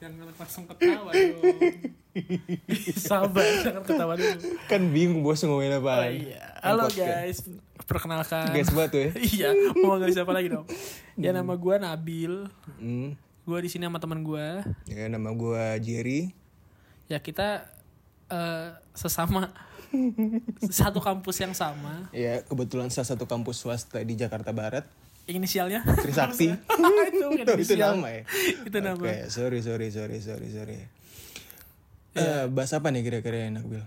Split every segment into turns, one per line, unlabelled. jangan langsung ketawa dong sabar jangan ketawa dulu
Kan bingung bos ngomongin apa. ya.
oh, iya halo guys perkenalkan
Guys banget tuh ya.
iya mau nggak siapa lagi dong ya nama gue Nabil
Hmm.
gue di sini sama teman gue
Ya, nama gua Jerry.
ya kita eh, sesama satu kampus yang sama
Ya kebetulan salah satu kampus swasta di Jakarta Barat.
inisialnya
Trisakti.
itu bukan
itu
inisial.
nama ya.
itu nama
Oke, sorry sorry sorry sorry sorry. Eh,
Iya.
bahas apa nih kira-kira yang enak Bil?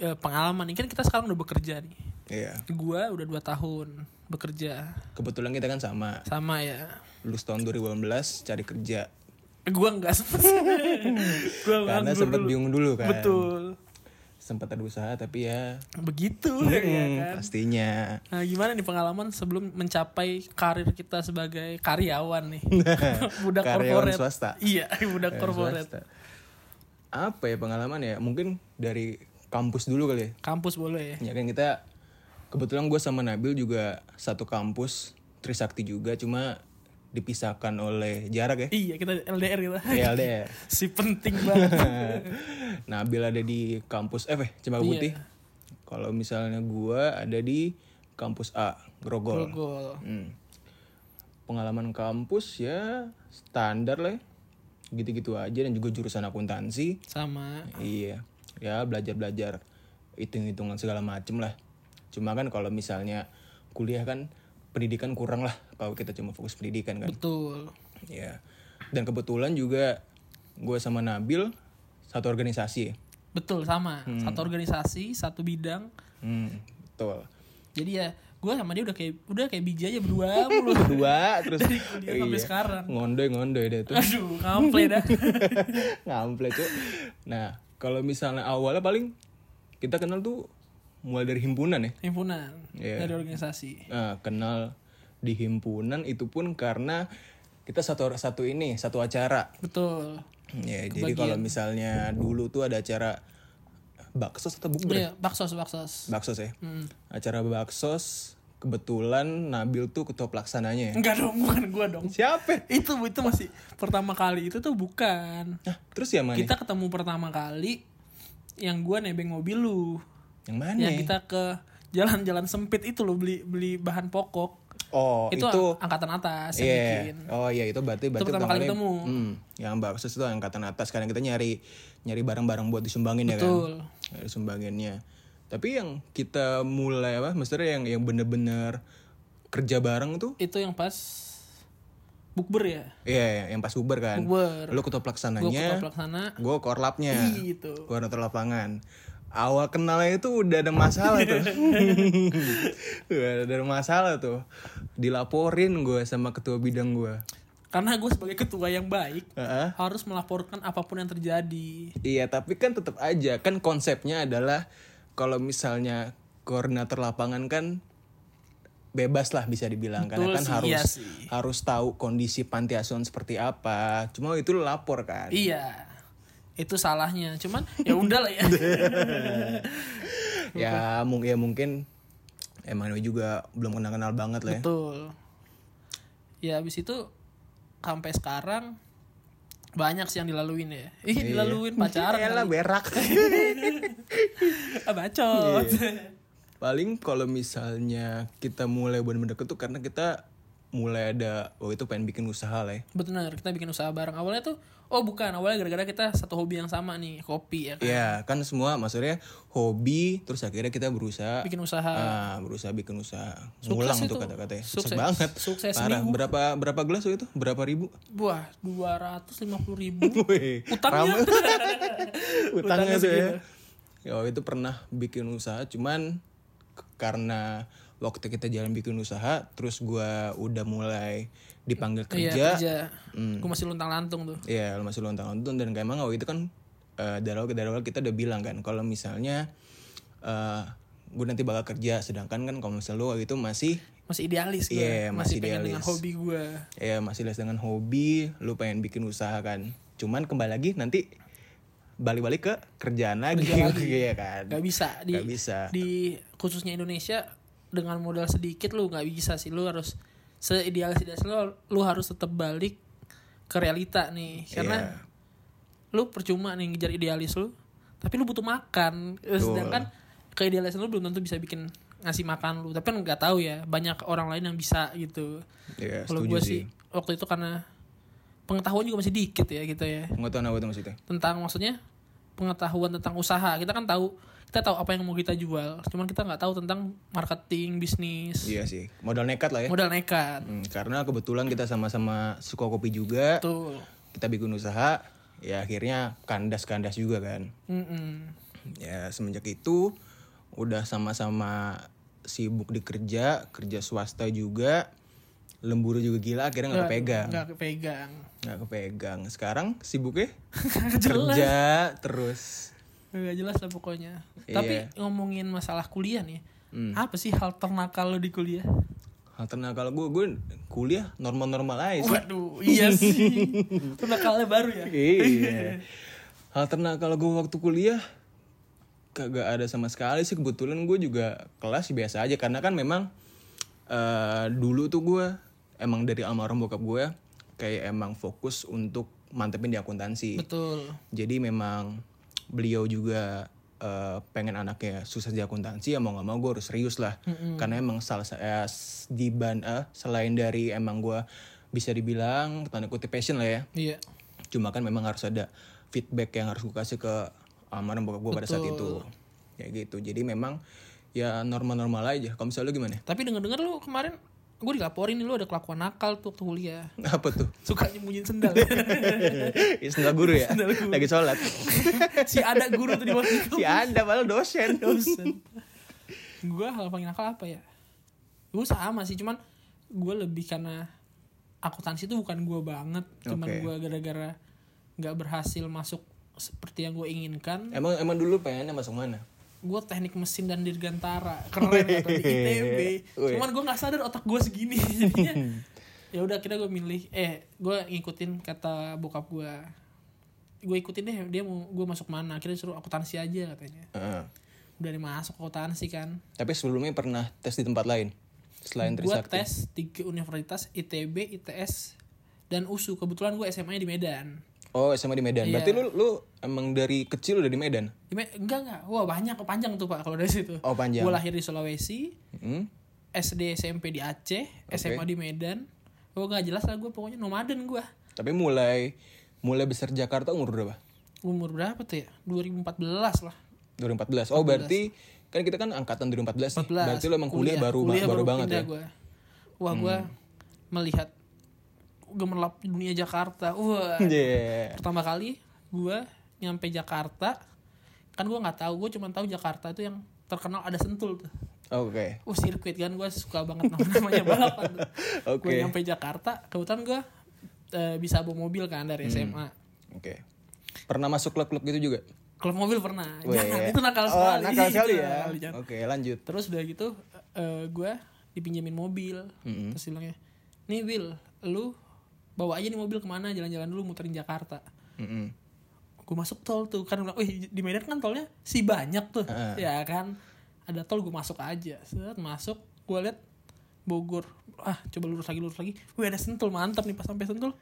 Eh, pengalaman ini kan kita sekarang udah bekerja nih
Iya.
gue udah dua tahun bekerja
Kebetulan kita kan sama.
sama ya
Lulus tahun 2018 cari kerja.
gue nggak sempet gue
Karena sempat bingung dulu kan.
betul
Sempat ada usaha tapi ya,
begitu ya
hmm,
kan
pastinya.
nah gimana nih pengalaman sebelum mencapai karir kita sebagai karyawan nih budak
Karyawan
korporat
swasta.
iya budak
Karyawan
korporat
Eh, swasta. Apa ya pengalaman ya? Mungkin dari kampus dulu kali ya.
kampus boleh ya
Ya kan kita kebetulan gue sama Nabil juga satu kampus Trisakti juga cuma dipisahkan oleh jarak ya.
iya kita LDR kita
Ya, LDR.
si penting banget
Nah, Nabil ada di kampus F eh Cempaka Putih. Kalau misalnya gue ada di kampus A Grogol.
Grogol.
Hmm. Pengalaman kampus ya standar lah. ya. Gitu-gitu aja dan juga jurusan akuntansi.
sama
Iya, ya belajar-belajar hitung-hitungan segala macem lah. Cuma kan kalau misalnya kuliah kan pendidikan kurang lah kalau kita cuma fokus pendidikan kan.
betul
Ya. Dan kebetulan juga gue sama Nabil satu organisasi.
betul sama satu organisasi satu bidang
Hmm, betul.
jadi ya gue sama dia udah kayak udah kayak biji aja berdua mulu
Dua terus
Dari kuliah sampai sekarang.
Ngondoy-ngondoy deh tuh.
aduh ngample dah
Ngamplek tuh. Nah, kalau misalnya awalnya paling kita kenal tuh mulai dari himpunan ya.
himpunan
Iya.
dari organisasi
Nah, kenal di himpunan itu pun karena kita satu satu ini satu acara.
betul
Ya, jadi kalau misalnya dulu tuh ada acara baksos atau bukber.
Iya, baksos baksos
Baksos ya. Acara baksos kebetulan Nabil tuh ketua pelaksananya ya.
enggak dong bukan gue dong
Siapa?
itu itu masih pertama kali itu tuh bukan
Nah, terus yang mana?
kita ketemu pertama kali yang gue nebeng mobil lu
yang mana?
yang kita ke jalan-jalan sempit itu lo beli beli bahan pokok
Oh,
itu,
itu,
ang- angkatan atas yang bikin
Iya. Oh iya itu berarti berarti
pertama kali
pertamanya-
ketemu.
Hmm, yang baksos itu angkatan atas karena kita nyari nyari barang-barang buat disumbangin ya kan.
Betul.
Nyari sumbanginnya. Tapi yang kita mulai apa? Maksudnya yang yang bener-bener kerja bareng tuh
itu yang pas bukber ya
Iya, yang pas Uber kan.
Uber.
Lu ketua
gue ketua
pelaksananya,
pelaksana
gue korlapnya.
gitu
Gue nonton lapangan. Awal kenalnya itu udah ada masalah tuh. udah ada masalah tuh. Dilaporin gue sama ketua bidang gue.
karena gue sebagai ketua yang baik
Heeh.
harus melaporkan apapun yang terjadi
Iya, tapi kan tetap aja kan konsepnya adalah kalau misalnya koordinator lapangan kan bebas lah bisa dibilang
Betul
karena kan
sih,
harus
iya sih.
harus tahu kondisi panti asuhan seperti apa. Cuma itu lu lapor kan.
iya itu salahnya cuman ya udah lah ya
ya mungkin ya mungkin emang ini juga belum kenal kenal banget lah ya.
betul ya habis itu sampai sekarang banyak sih yang dilaluin ya ih
Iya.
dilaluin pacaran
Elah,
kali.
berak.
Ah, bacot
Iya. Paling kalau misalnya kita mulai bener-bener deket tuh karena kita mulai ada oh itu pengen bikin usaha lah ya.
Benar, kita bikin usaha bareng. Awalnya tuh, oh bukan, awalnya gara-gara kita satu hobi yang sama nih, kopi ya kan.
Iya, kan semua maksudnya hobi terus akhirnya kita berusaha
Bikin usaha.
ah, berusaha bikin usaha. Ngulang
itu.
tuh kata-katanya.
Sukses.
banget.
Sukses
Parah.
seminggu.
Berapa berapa gelas waktu itu? Berapa ribu?
Wah, 250 ribu. ya.
Wih,
Utangnya.
utangnya tuh ya. Ya waktu itu pernah bikin usaha cuman k- karena waktu kita jalan bikin usaha terus gua udah mulai
Iya,
dipanggil kerja. Hmm.
kerja. Gue masih luntang-lantung tuh.
Iya, lu masih lontang-lontang dan kayak emang waktu itu kan eh, dari awal dari awal kita udah bilang kan kalau misalnya eh gue nanti bakal kerja sedangkan kan kalau misalnya lu waktu itu masih
Masih idealis gue.
Iya,
masih,
masih
pengen dengan
idealis.
hobi gue.
ya masih les dengan hobi, lu pengen bikin usaha kan. Cuman kembali lagi nanti balik-balik ke kerjaan lagi, iya kan.
Gak bisa. Di,
Nggak bisa.
Di khususnya Indonesia, dengan modal sedikit lu gak bisa sih. Lu harus seidealis idealis lo lu harus tetap balik ke realita nih karena
Iya.
lu percuma nih ngejar idealis lu tapi lu butuh makan sedangkan keidealisan lu belum tentu bisa bikin ngasih makan lu tapi kan nggak tahu ya banyak orang lain yang bisa gitu
Iya,
kalau
setuju
gue
sih.
sih waktu itu karena pengetahuan juga masih dikit ya gitu ya
Pengetahuan apa tuh maksudnya?
tentang maksudnya pengetahuan tentang usaha kita kan tahu kita tahu apa yang mau kita jual cuman kita nggak tahu tentang marketing bisnis
Iya sih, modal nekat lah ya.
modal nekat
Hmm, karena kebetulan kita sama-sama suka kopi juga,
tuh
kita bikin usaha, ya akhirnya kandas-kandas juga kan.
Mm-mm.
Ya semenjak itu udah sama-sama sibuk di kerja, kerja swasta juga, lembur juga gila
Ya.
akhirnya nggak kepegang.
nggak kepegang
Nggak kepegang. Sekarang sibuknya
jelas
kerja terus.
nggak jelas lah pokoknya
Iya. Hmm.
tapi ngomongin masalah kuliah nih apa sih hal ternakal lo di kuliah
Hal ternakal gue, gue kuliah normal-normal aja sih.
waduh iya sih ternakalnya baru ya
Iya. Hal ternakal gue waktu kuliah kagak ada sama sekali sih kebetulan gue juga kelas biasa aja karena kan memang eh, dulu tuh gue emang dari almarhum bokap gue kayak emang fokus untuk mantepin di akuntansi.
betul
Jadi memang beliau juga eh, pengen anaknya sukses di akuntansi ya mau nggak mau gue harus serius lah karena emang salah sa- eh, s- di ban eh, selain dari emang gue bisa dibilang tanda kutip passion lah ya
iya
cuma kan memang harus ada feedback yang harus gue kasih ke almarhum bokap gue pada saat itu ya gitu jadi memang ya normal-normal aja kalau misalnya lu gimana
tapi denger dengar lu kemarin gue dilaporin nih lu ada kelakuan nakal tuh waktu kuliah
apa tuh
suka nyembunyiin sendal
istilah guru ya lagi sholat
si ada guru tuh di bawah
si anda malah dosen
dosen gue hal paling nakal apa ya gue sama sih cuman gue lebih karena akuntansi itu bukan gue banget cuman
Oke.
gue gara-gara nggak berhasil masuk seperti yang gue inginkan
emang emang dulu pengennya masuk mana
gue teknik mesin dan dirgantara keren atau di ITB
Wih.
cuman gue nggak sadar otak gue segini jadinya ya udah akhirnya gue milih eh gue ngikutin kata bokap gue gue ikutin deh dia mau gue masuk mana akhirnya suruh akuntansi aja katanya
Heeh.
udah masuk akuntansi kan
tapi sebelumnya pernah tes di tempat lain selain
gue
Trisakti
tes tiga universitas ITB, ITS, dan USU. Kebetulan gue SMA-nya di Medan.
oh SMA di Medan berarti lu lu emang dari kecil udah di Medan
Di Me- enggak enggak, wah banyak Oh, panjang tuh pak kalau dari situ.
oh
Gue
panjang
lahir di Sulawesi,
Hmm?
SD SMP di Aceh, SMA di Medan. Gue gak jelas lah gue pokoknya nomaden gue.
tapi mulai mulai besar Jakarta umur berapa
Umur berapa tuh ya? 2014 lah.
2014. Oh, berarti kan kita kan angkatan 2014 nih.
14.
Berarti lo emang kuliah, baru
kuliah
baru, banget
pindah
ya. Hmm.
Gua. Wah gue melihat gemerlap dunia Jakarta. Wah
Yeah.
pertama kali gue nyampe Jakarta kan gue nggak tahu gue cuma tahu Jakarta itu yang terkenal ada sentul tuh
Oke.
uh sirkuit kan gue suka banget nama namanya balapan tuh.
Oke.
gue nyampe Jakarta kebetulan gue eh, bisa bawa mobil kan dari
Hmm.
SMA
Oke. Pernah masuk klub-klub gitu juga?
kalau mobil pernah
Weh.
jangan itu nakal
oh,
sekali
nakal sekali
Itu
ya.
nakal, jangan.
Oke, lanjut.
terus udah gitu eh, gue dipinjemin mobil
Hmm.
terus bilangnya nih Will lu bawa aja nih mobil kemana jalan-jalan dulu muterin Jakarta
Mm-mm.
gue masuk tol tuh kan bilang, wih di Medan kan tolnya si banyak tuh
Heeh.
ya kan ada tol gue masuk aja set masuk gue liat Bogor ah coba lurus lagi lurus lagi wih ada sentul mantap nih pas sampai sentul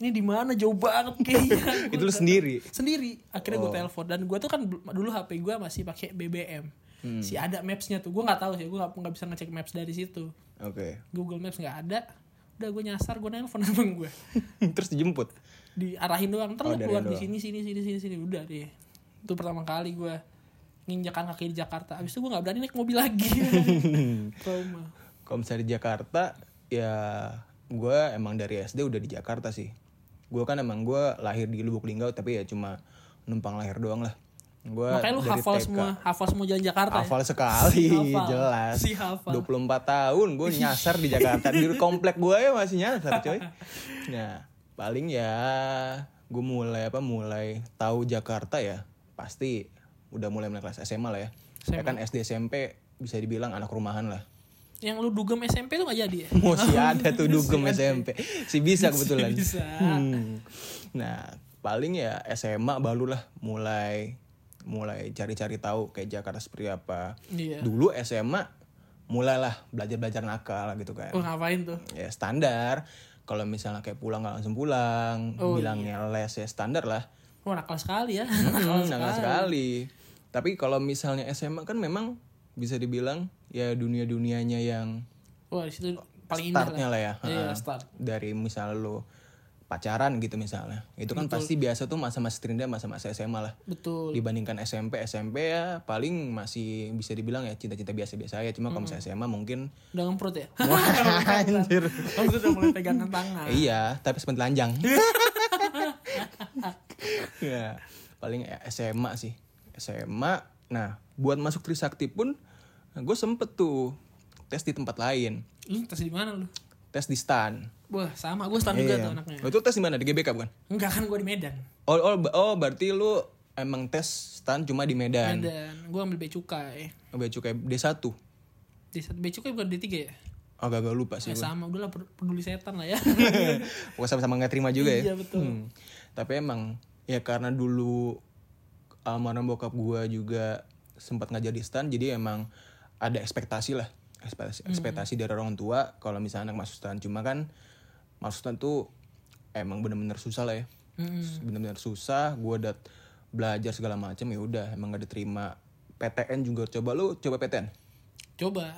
ini di mana jauh banget kayaknya
Itu
Gua
lu
udah-
sendiri. Oh.
sendiri akhirnya gue telepon dan gue tuh kan bel- dulu HP gue masih pakai BBM
Hmm.
si ada mapsnya tuh gue nggak tahu sih gue nggak nggak bisa ngecek maps dari situ
Oke.
Google Maps nggak ada udah gue nyasar gue nelfon abang gue
Terus dijemput.
diarahin doang ntar
Oh,
lu
diarahin
keluar di
doang.
sini sini sini sini sini udah deh itu pertama kali gue nginjakan kaki di Jakarta abis itu gue nggak berani naik mobil lagi trauma
Kalau misalnya di Jakarta, ya gue emang dari SD udah di Jakarta sih. Gue kan emang gue lahir di Lubuk Linggau tapi ya cuma numpang lahir doang lah. Gue
makanya lu
dari
hafal
TK.
semua hafal semua jalan Jakarta
Hafal sekali,
ya? Si hafal.
jelas.
Si hafal.
24 tahun gue nyasar di Jakarta. Di komplek gue ya masih nyasar, coy. Nah, paling ya gue mulai apa mulai tahu Jakarta ya. Pasti udah mulai mulai kelas SMA lah ya. Saya kan SD SMP bisa dibilang anak rumahan lah.
ya. yang lu dugem SMP tuh nggak jadi ya
Masih ada tuh dugem SMP. Si bisa kebetulan.
bisa
Hmm. Nah, paling ya SMA barulah mulai mulai cari-cari tahu kayak Jakarta seperti apa
iya
dulu SMA mulailah belajar-belajar nakal gitu kan.
Wah ngapain tuh?
Ya standar. Kalau misalnya kayak pulang nggak langsung pulang,
Oh,
bilangnya les ya standar lah.
Wah nakal sekali ya.
Hmm, nakal sekali. Tapi kalau misalnya SMA kan memang bisa dibilang ya dunia-dunianya yang
Wah di situ paling indah
startnya lah ya.
Iya,
Ha.
start.
Dari misalnya lo pacaran gitu misalnya. Itu kan pasti biasa tuh masa-masa terindah masa-masa SMA lah.
Betul.
Dibandingkan SMP, SMP ya paling masih bisa dibilang ya cinta-cinta biasa-biasa ya. Cuma kalau misalnya SMA mungkin
Dengan perut ya.
Wah, anjir.
Kamu udah mulai pegangan tangan.
Iya, tapi sempat telanjang. ya, paling SMA sih. SMA. Nah, buat masuk Trisakti pun gue sempet tuh tes di tempat lain.
Lu tes di mana lu?
Tes di STAN.
Wah sama gue stand juga
Iya,
tuh anaknya. ya?
Lo Itu tes di mana? Di GBK bukan?
Enggak kan gue di Medan.
Oh, oh, ba- oh, berarti lu emang tes STAN cuma di Medan.
Medan. Gue ambil bea cukai.
Bea cukai D1.
Di saat bea cukai bukan D3 ya?
Agak-agak lupa sih.
Ya sama, udahlah per- peduli setan lah ya.
Gue sama-sama nggak terima juga ya.
Iya betul.
Hmm. Tapi emang ya karena dulu almarhum bokap gua juga sempat ngajar di stan jadi emang ada ekspektasi lah
Hmm.
ekspektasi, ekspektasi dari orang tua kalau misalnya anak masuk stan cuma kan masuk stan tuh emang bener-bener susah lah ya
Hmm.
bener-bener susah gua udah belajar segala macam ya udah emang gak diterima PTN juga coba lu coba PTN
Coba.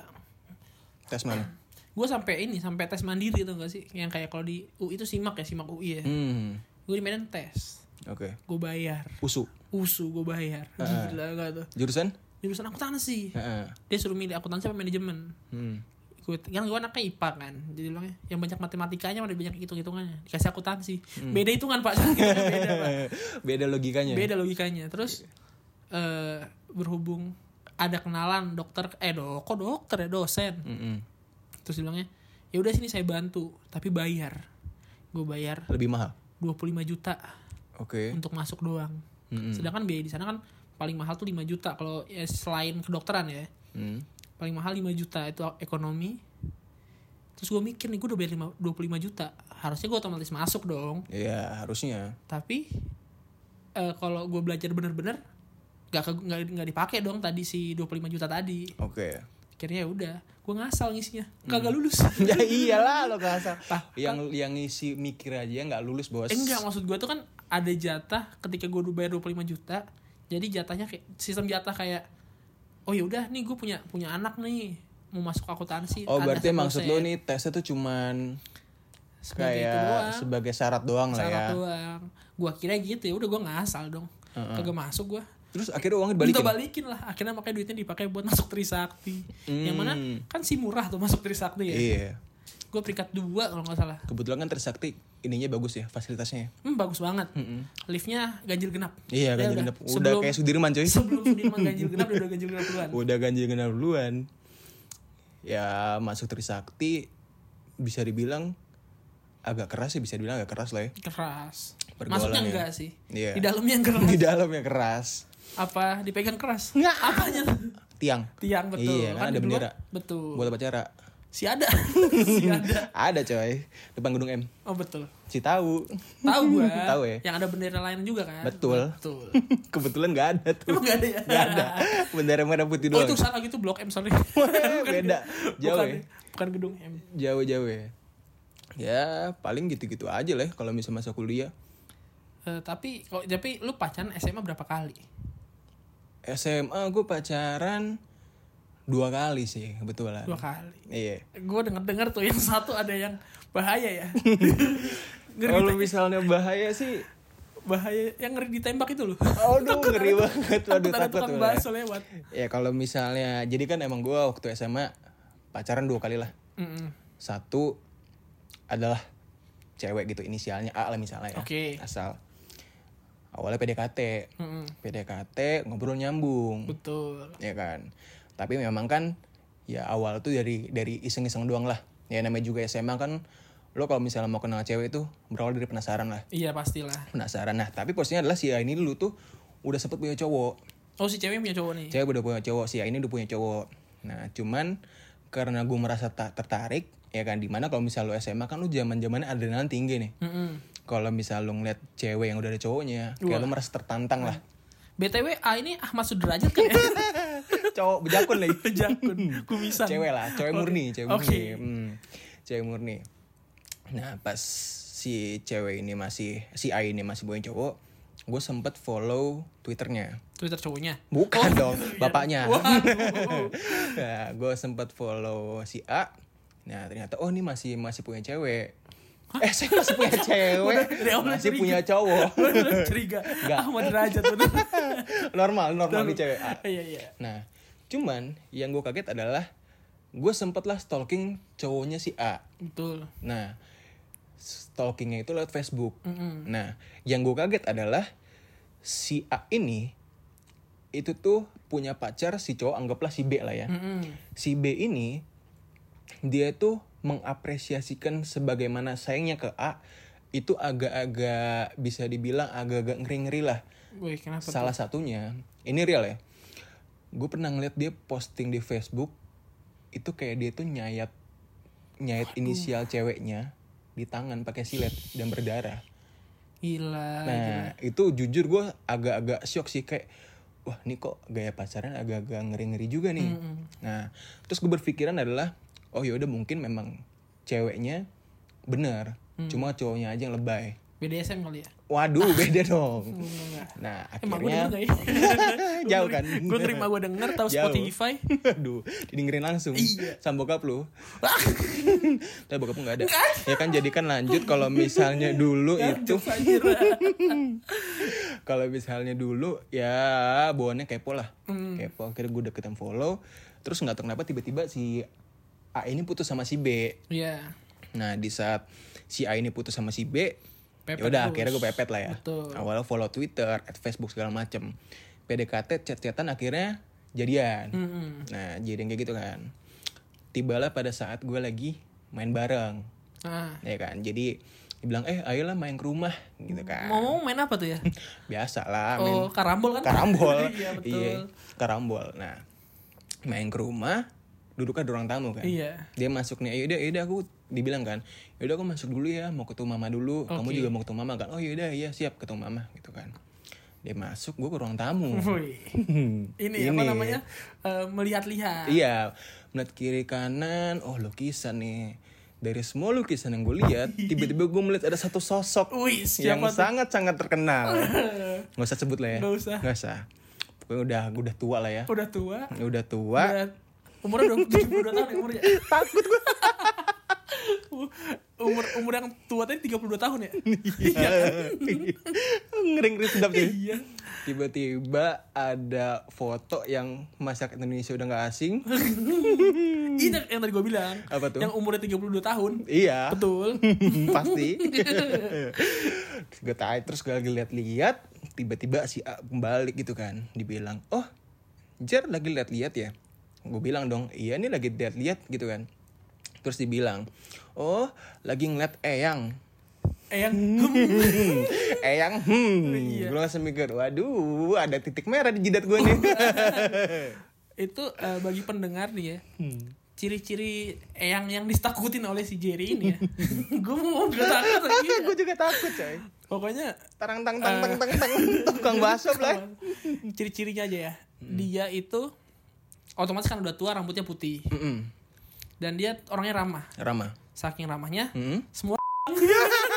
tes mana
Gue sampai ini, sampai tes mandiri tuh gak sih? Yang kayak kalau di UI itu simak ya, simak UI ya.
hmm
Gue di Medan tes.
oke
Gue bayar.
usu
Usu gue bayar. Gila gak tuh.
jurusan
Jurusan akuntansi.
Heeh.
Dia suruh milih akuntansi apa manajemen.
hmm.
gue kan gue anaknya IPA kan jadi bilangnya yang banyak matematikanya ada banyak hitung hitungannya dikasih akuntansi beda hitungan pak beda pak
beda logikanya
beda logikanya terus eh berhubung ada kenalan dokter eh dok kok dokter ya dosen
Mm-mm.
terus dia bilangnya ya udah sini saya bantu tapi bayar gue bayar
lebih mahal
25 juta
Oke.
untuk masuk doang
Mm-mm.
sedangkan biaya di sana kan paling mahal tuh 5 juta kalau ya, selain kedokteran ya
Hmm.
paling mahal 5 juta itu ekonomi terus gue mikir nih gue udah bayar lima- 25 juta harusnya gue otomatis masuk dong
Ya harusnya.
tapi eh, kalau gue belajar bener-bener nggak ke- nggak nggak dipakai dong tadi si 25 juta tadi
Oke.
akhirnya ya udah gue ngasal ngisinya kagak lulus
ya iyalah lo gak asal.
Tah,
yang yang ngisi mikir aja nggak lulus bos.
Eh, Kan enggak maksud gue tuh kan ada jatah ketika gue udah bayar 25 juta jadi jatahnya kayak sistem jatah kayak oh ya udah nih gue punya punya anak nih mau masuk akuntansi
Oh
ada
berarti maksud lo
dosen.
nih tesnya tuh cuman
Sebagai itu gitu doang.
kayak sebagai syarat doang lah ya.
Syarat doang. Gua kira gitu ya udah gua ngasal dong. Kagak masuk gua.
Terus akhirnya uangnya
Minta
dibalikin.
balikin lah. Akhirnya makanya duitnya dipakai buat masuk Trisakti. Yang mana
Hmm.
kan si murah tuh masuk Trisakti ya.
Iya.
Gua peringkat dua kalau nggak salah.
Kebetulan kan Trisakti ininya bagus ya fasilitasnya. ya.
Hmm, bagus banget. Liftnya ganjil genap. Ya
Iya ganjil
udah.
genap. Udah
Sebelum-
kayak Sudirman coy.
Sebelum Sudirman ganjil genap udah udah ganjil genap duluan.
Udah ganjil genap duluan. Ya masuk Trisakti bisa dibilang agak keras sih bisa dibilang agak keras lah ya.
Keras.
Pergaulan
Masuknya
ya.
enggak sih.
Iya.
Di dalamnya keras.
Di dalam ya keras.
Apa dipegang keras? Enggak. Apanya?
Tiang.
Tiang betul.
Iya, kan ada
di luar-
bendera.
Betul.
buat upacara
Si ada. si ada.
ada coy depan gedung M
Oh betul.
si tahu
Tahu gua.
Tahu ya?
Yang ada bendera lain juga kan?
Betul.
Betul.
kebetulan nggak ada tuh
Emang gak ada ya?
nggak ada bendera merah putih
Oh
doang
itu salah gitu Blok M sorry.
beda jauh
bukan,
ya
bukan gedung M.
jauh jauh ya ya paling gitu gitu aja lah ya kalau misalnya masa kuliah
Eh, tapi kalau tapi lu pacaran SMA berapa kali?
SMA gue pacaran dua kali sih kebetulan
Dua kali.
iya
Gue denger dengar tuh yang satu ada yang bahaya ya. ngeri
kalau misalnya bahaya sih
bahaya yang ngeri ditembak itu loh.
Aduh ngeri banget Waduh
Takut ada
takut
tukang
bener.
bakso lewat.
Ya kalau misalnya Jadi kan emang gue waktu SMA Pacaran dua kali lah
Mm-mm.
satu adalah cewek gitu inisialnya A lah misalnya ya
Oke.
asal awalnya PDKT
Mm-mm.
PDKT ngobrol nyambung
Betul.
ya kan tapi memang kan ya awal tuh dari dari iseng-iseng doang lah ya namanya juga SMA kan lo kalau misalnya mau kenal cewek itu berawal dari penasaran lah
Iya pastilah.
penasaran nah tapi posisinya adalah si A ini dulu tuh udah sempet punya cowok
Oh si cewek punya cowok nih.
cewek udah punya cowok sih ya ini udah punya cowok nah cuman karena gue merasa tak tertarik ya kan dimana kalau misal lu SMA kan lu zaman zamannya adrenalin tinggi nih
Mm-mm.
kalau misal lu ngeliat cewek yang udah ada cowoknya kayak lu merasa tertantang lah Iya.
BTW A ini Ahmad Sudrajat kan ya?
cowok bejakun lagi
Jakun, kumisan.
cewek lah cewek murni cewek
Oke.
murni Hmm, cewek murni nah pas si cewek ini masih si A ini masih boyin cowok gue sempet follow twitternya
Twitter cowoknya. Oh,
bukan dong
iya.
bapaknya
Waduh.
nah, gue sempat follow si A nah ternyata oh ini masih masih punya cewek eh saya masih punya cewek
Udah, dari awal gitu.
masih
curiga.
punya cowok
Gua udah curiga.
Nggak.
Ahmad Derajat bener.
normal normal di cewek A
Iya iya.
Nah, cuman yang gue kaget adalah gue sempet lah stalking cowoknya si A.
Betul.
Nah, stalkingnya itu lewat Facebook.
Mm-mm.
Nah, yang gue kaget adalah si A ini itu tuh punya pacar si cowok anggaplah si B lah ya.
Mm-mm.
Si B ini dia tuh mengapresiasikan sebagaimana sayangnya ke A itu agak-agak bisa dibilang agak-agak ngeri-ngeri lah.
Wih, kenapa? tuh?
Salah satunya, ini real ya. Gue pernah ngeliat dia posting di Facebook itu kayak dia tuh nyayat nyayat inisial ceweknya di tangan pakai silet dan berdarah.
Gila. gila.
Nah, itu jujur gue agak-agak shock sih kayak wah ini kok gaya pacaran agak-agak ngeri-ngeri juga nih. Nah, terus gue berpikiran adalah oh ya udah mungkin memang ceweknya bener,
Hmm.
cuma cowoknya aja yang lebay.
BDSM kali ya?
Waduh, beda dong.
Enggak, enggak.
Nah,
Emang gue
akhirnya
denger gak ya?
jauh kan
gue terima gue denger tau
Jauh.
Spotify.
aduh didengerin langsung sama bokap lu tapi bokap lu nggak ada ya kan jadikan lanjut kalau misalnya dulu itu
Jokes anjir.
kalau misalnya dulu ya bawaannya kepo lah kepo akhirnya gue deketan follow terus nggak tahu kenapa tiba-tiba si A ini putus sama si B
Iya.
nah di saat si A ini putus sama si B
Pepet
ya udah
terus.
akhirnya gue pepet lah ya
Betul.
awalnya follow Twitter, at Facebook segala macem PDKT chat-chatan akhirnya jadian
Mm-mm.
Nah, jadi kayak gitu kan. Tibalah pada saat gue lagi main bareng,
Nah,
ya kan. Jadi dibilang eh ayolah main ke rumah gitu kan.
mau main apa tuh ya?
Biasa lah main
Oh, karambol kan?
karambol.
iya, betul.
Iya, karambol. Nah, main ke rumah, duduknya di ruang tamu kan.
Iya.
Dia "Ya masuk nih, yaudah, yaudah aku dibilang kan, yaudah aku masuk dulu ya, mau ketemu mama dulu. Kamu
Oke.
juga mau ketemu mama kan? Oh yaudah, iya siap ketemu mama gitu kan. Dia masuk, gue ke ruang tamu.
Wih. Ini, apa namanya? Eh, melihat-lihat.
Iya, melihat kiri kanan, oh lukisan nih. Dari semua lukisan yang gue lihat, tiba-tiba gue melihat ada satu sosok
Wih,
yang
siapa tuh?
sangat-sangat terkenal. Gak usah sebut lah ya.
Nggak usah.
Nggak usah. Pokoknya udah udah tua lah ya.
Udah tua.
Udah tua.
Udah umurnya udah 72 tahun ya umurnya.
Takut gue.
Umur umur yang tua tadi 32 tahun ya?
Ngering-ngering Iya. sedap sih.
Iya.
Tiba-tiba ada foto yang masyarakat Indonesia udah nggak asing.
Itu yang tadi gue bilang.
Apa tuh?
Yang umurnya 32 tahun.
Iya.
Betul.
pasti gue tanya terus gue lagi lihat-lihat tiba-tiba si A balik gitu kan dibilang oh Jer lagi lihat-lihat ya gue bilang dong iya nih lagi lihat-lihat gitu kan terus dibilang oh lagi ngeliat Eyang
Eh yang
Hmm, Eyang hmm gue langsung mikir waduh ada titik merah di jidat gue nih
itu eh, bagi pendengar nih ya
Hmm.
ciri-ciri eyang yang ditakutin oleh si Jerry ini ya gue mau udah takut lagi
gue juga takut coy
pokoknya
tarang tang tang tang tang tang tukang bakso lah
ciri-cirinya aja ya
Hmm.
dia itu otomatis kan udah tua rambutnya putih
Mm-mm.
dan dia orangnya ramah
Rama
saking ramahnya
Mm-mm.
semua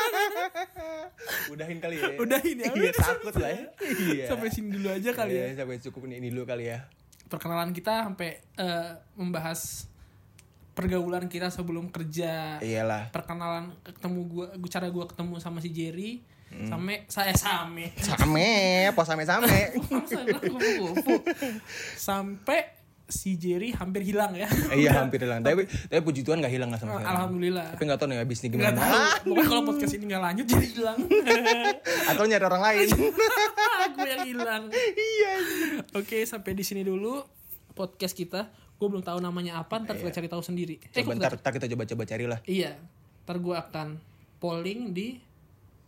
udahin kali ya
udah ini
iya takut lah ya. iya
sampai sini dulu aja kali ya
Iya, sampai cukup ini, ini dulu kali ya
perkenalan kita sampai eh, membahas pergaulan kita sebelum kerja
iyalah
perkenalan ketemu gua gua- cara gua ketemu sama si Jerry
Hmm.
sampai saya same
same pos same same
Masa gua kupu-kupu? sampai si Jerry hampir hilang ya
iya hampir hilang tapi tapi puji Tuhan gak hilang lah sama
Oh,
sekali
alhamdulillah
tapi gak tau nih abis ini
nggak
gimana
tahu pokoknya kalau podcast ini nggak lanjut jadi hilang
atau nyari orang lain
gue yang hilang
iya
oke sampai di sini dulu podcast kita gue belum tahu namanya apa ntar kita cari tahu sendiri Eh,
Iya. coba
gua
ntar, ntar kita coba coba cari lah
Iya, ntar gue akan polling di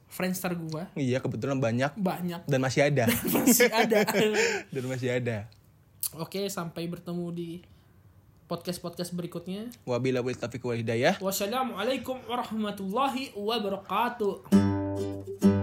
Friendster gue
iya kebetulan banyak
banyak
dan masih ada
masih ada.
dan masih ada
Oke, sampai bertemu di podcast podcast berikutnya.
wabila wal taufiq wal hidayah
Wassalamualaikum warahmatullahi wabarakatuh.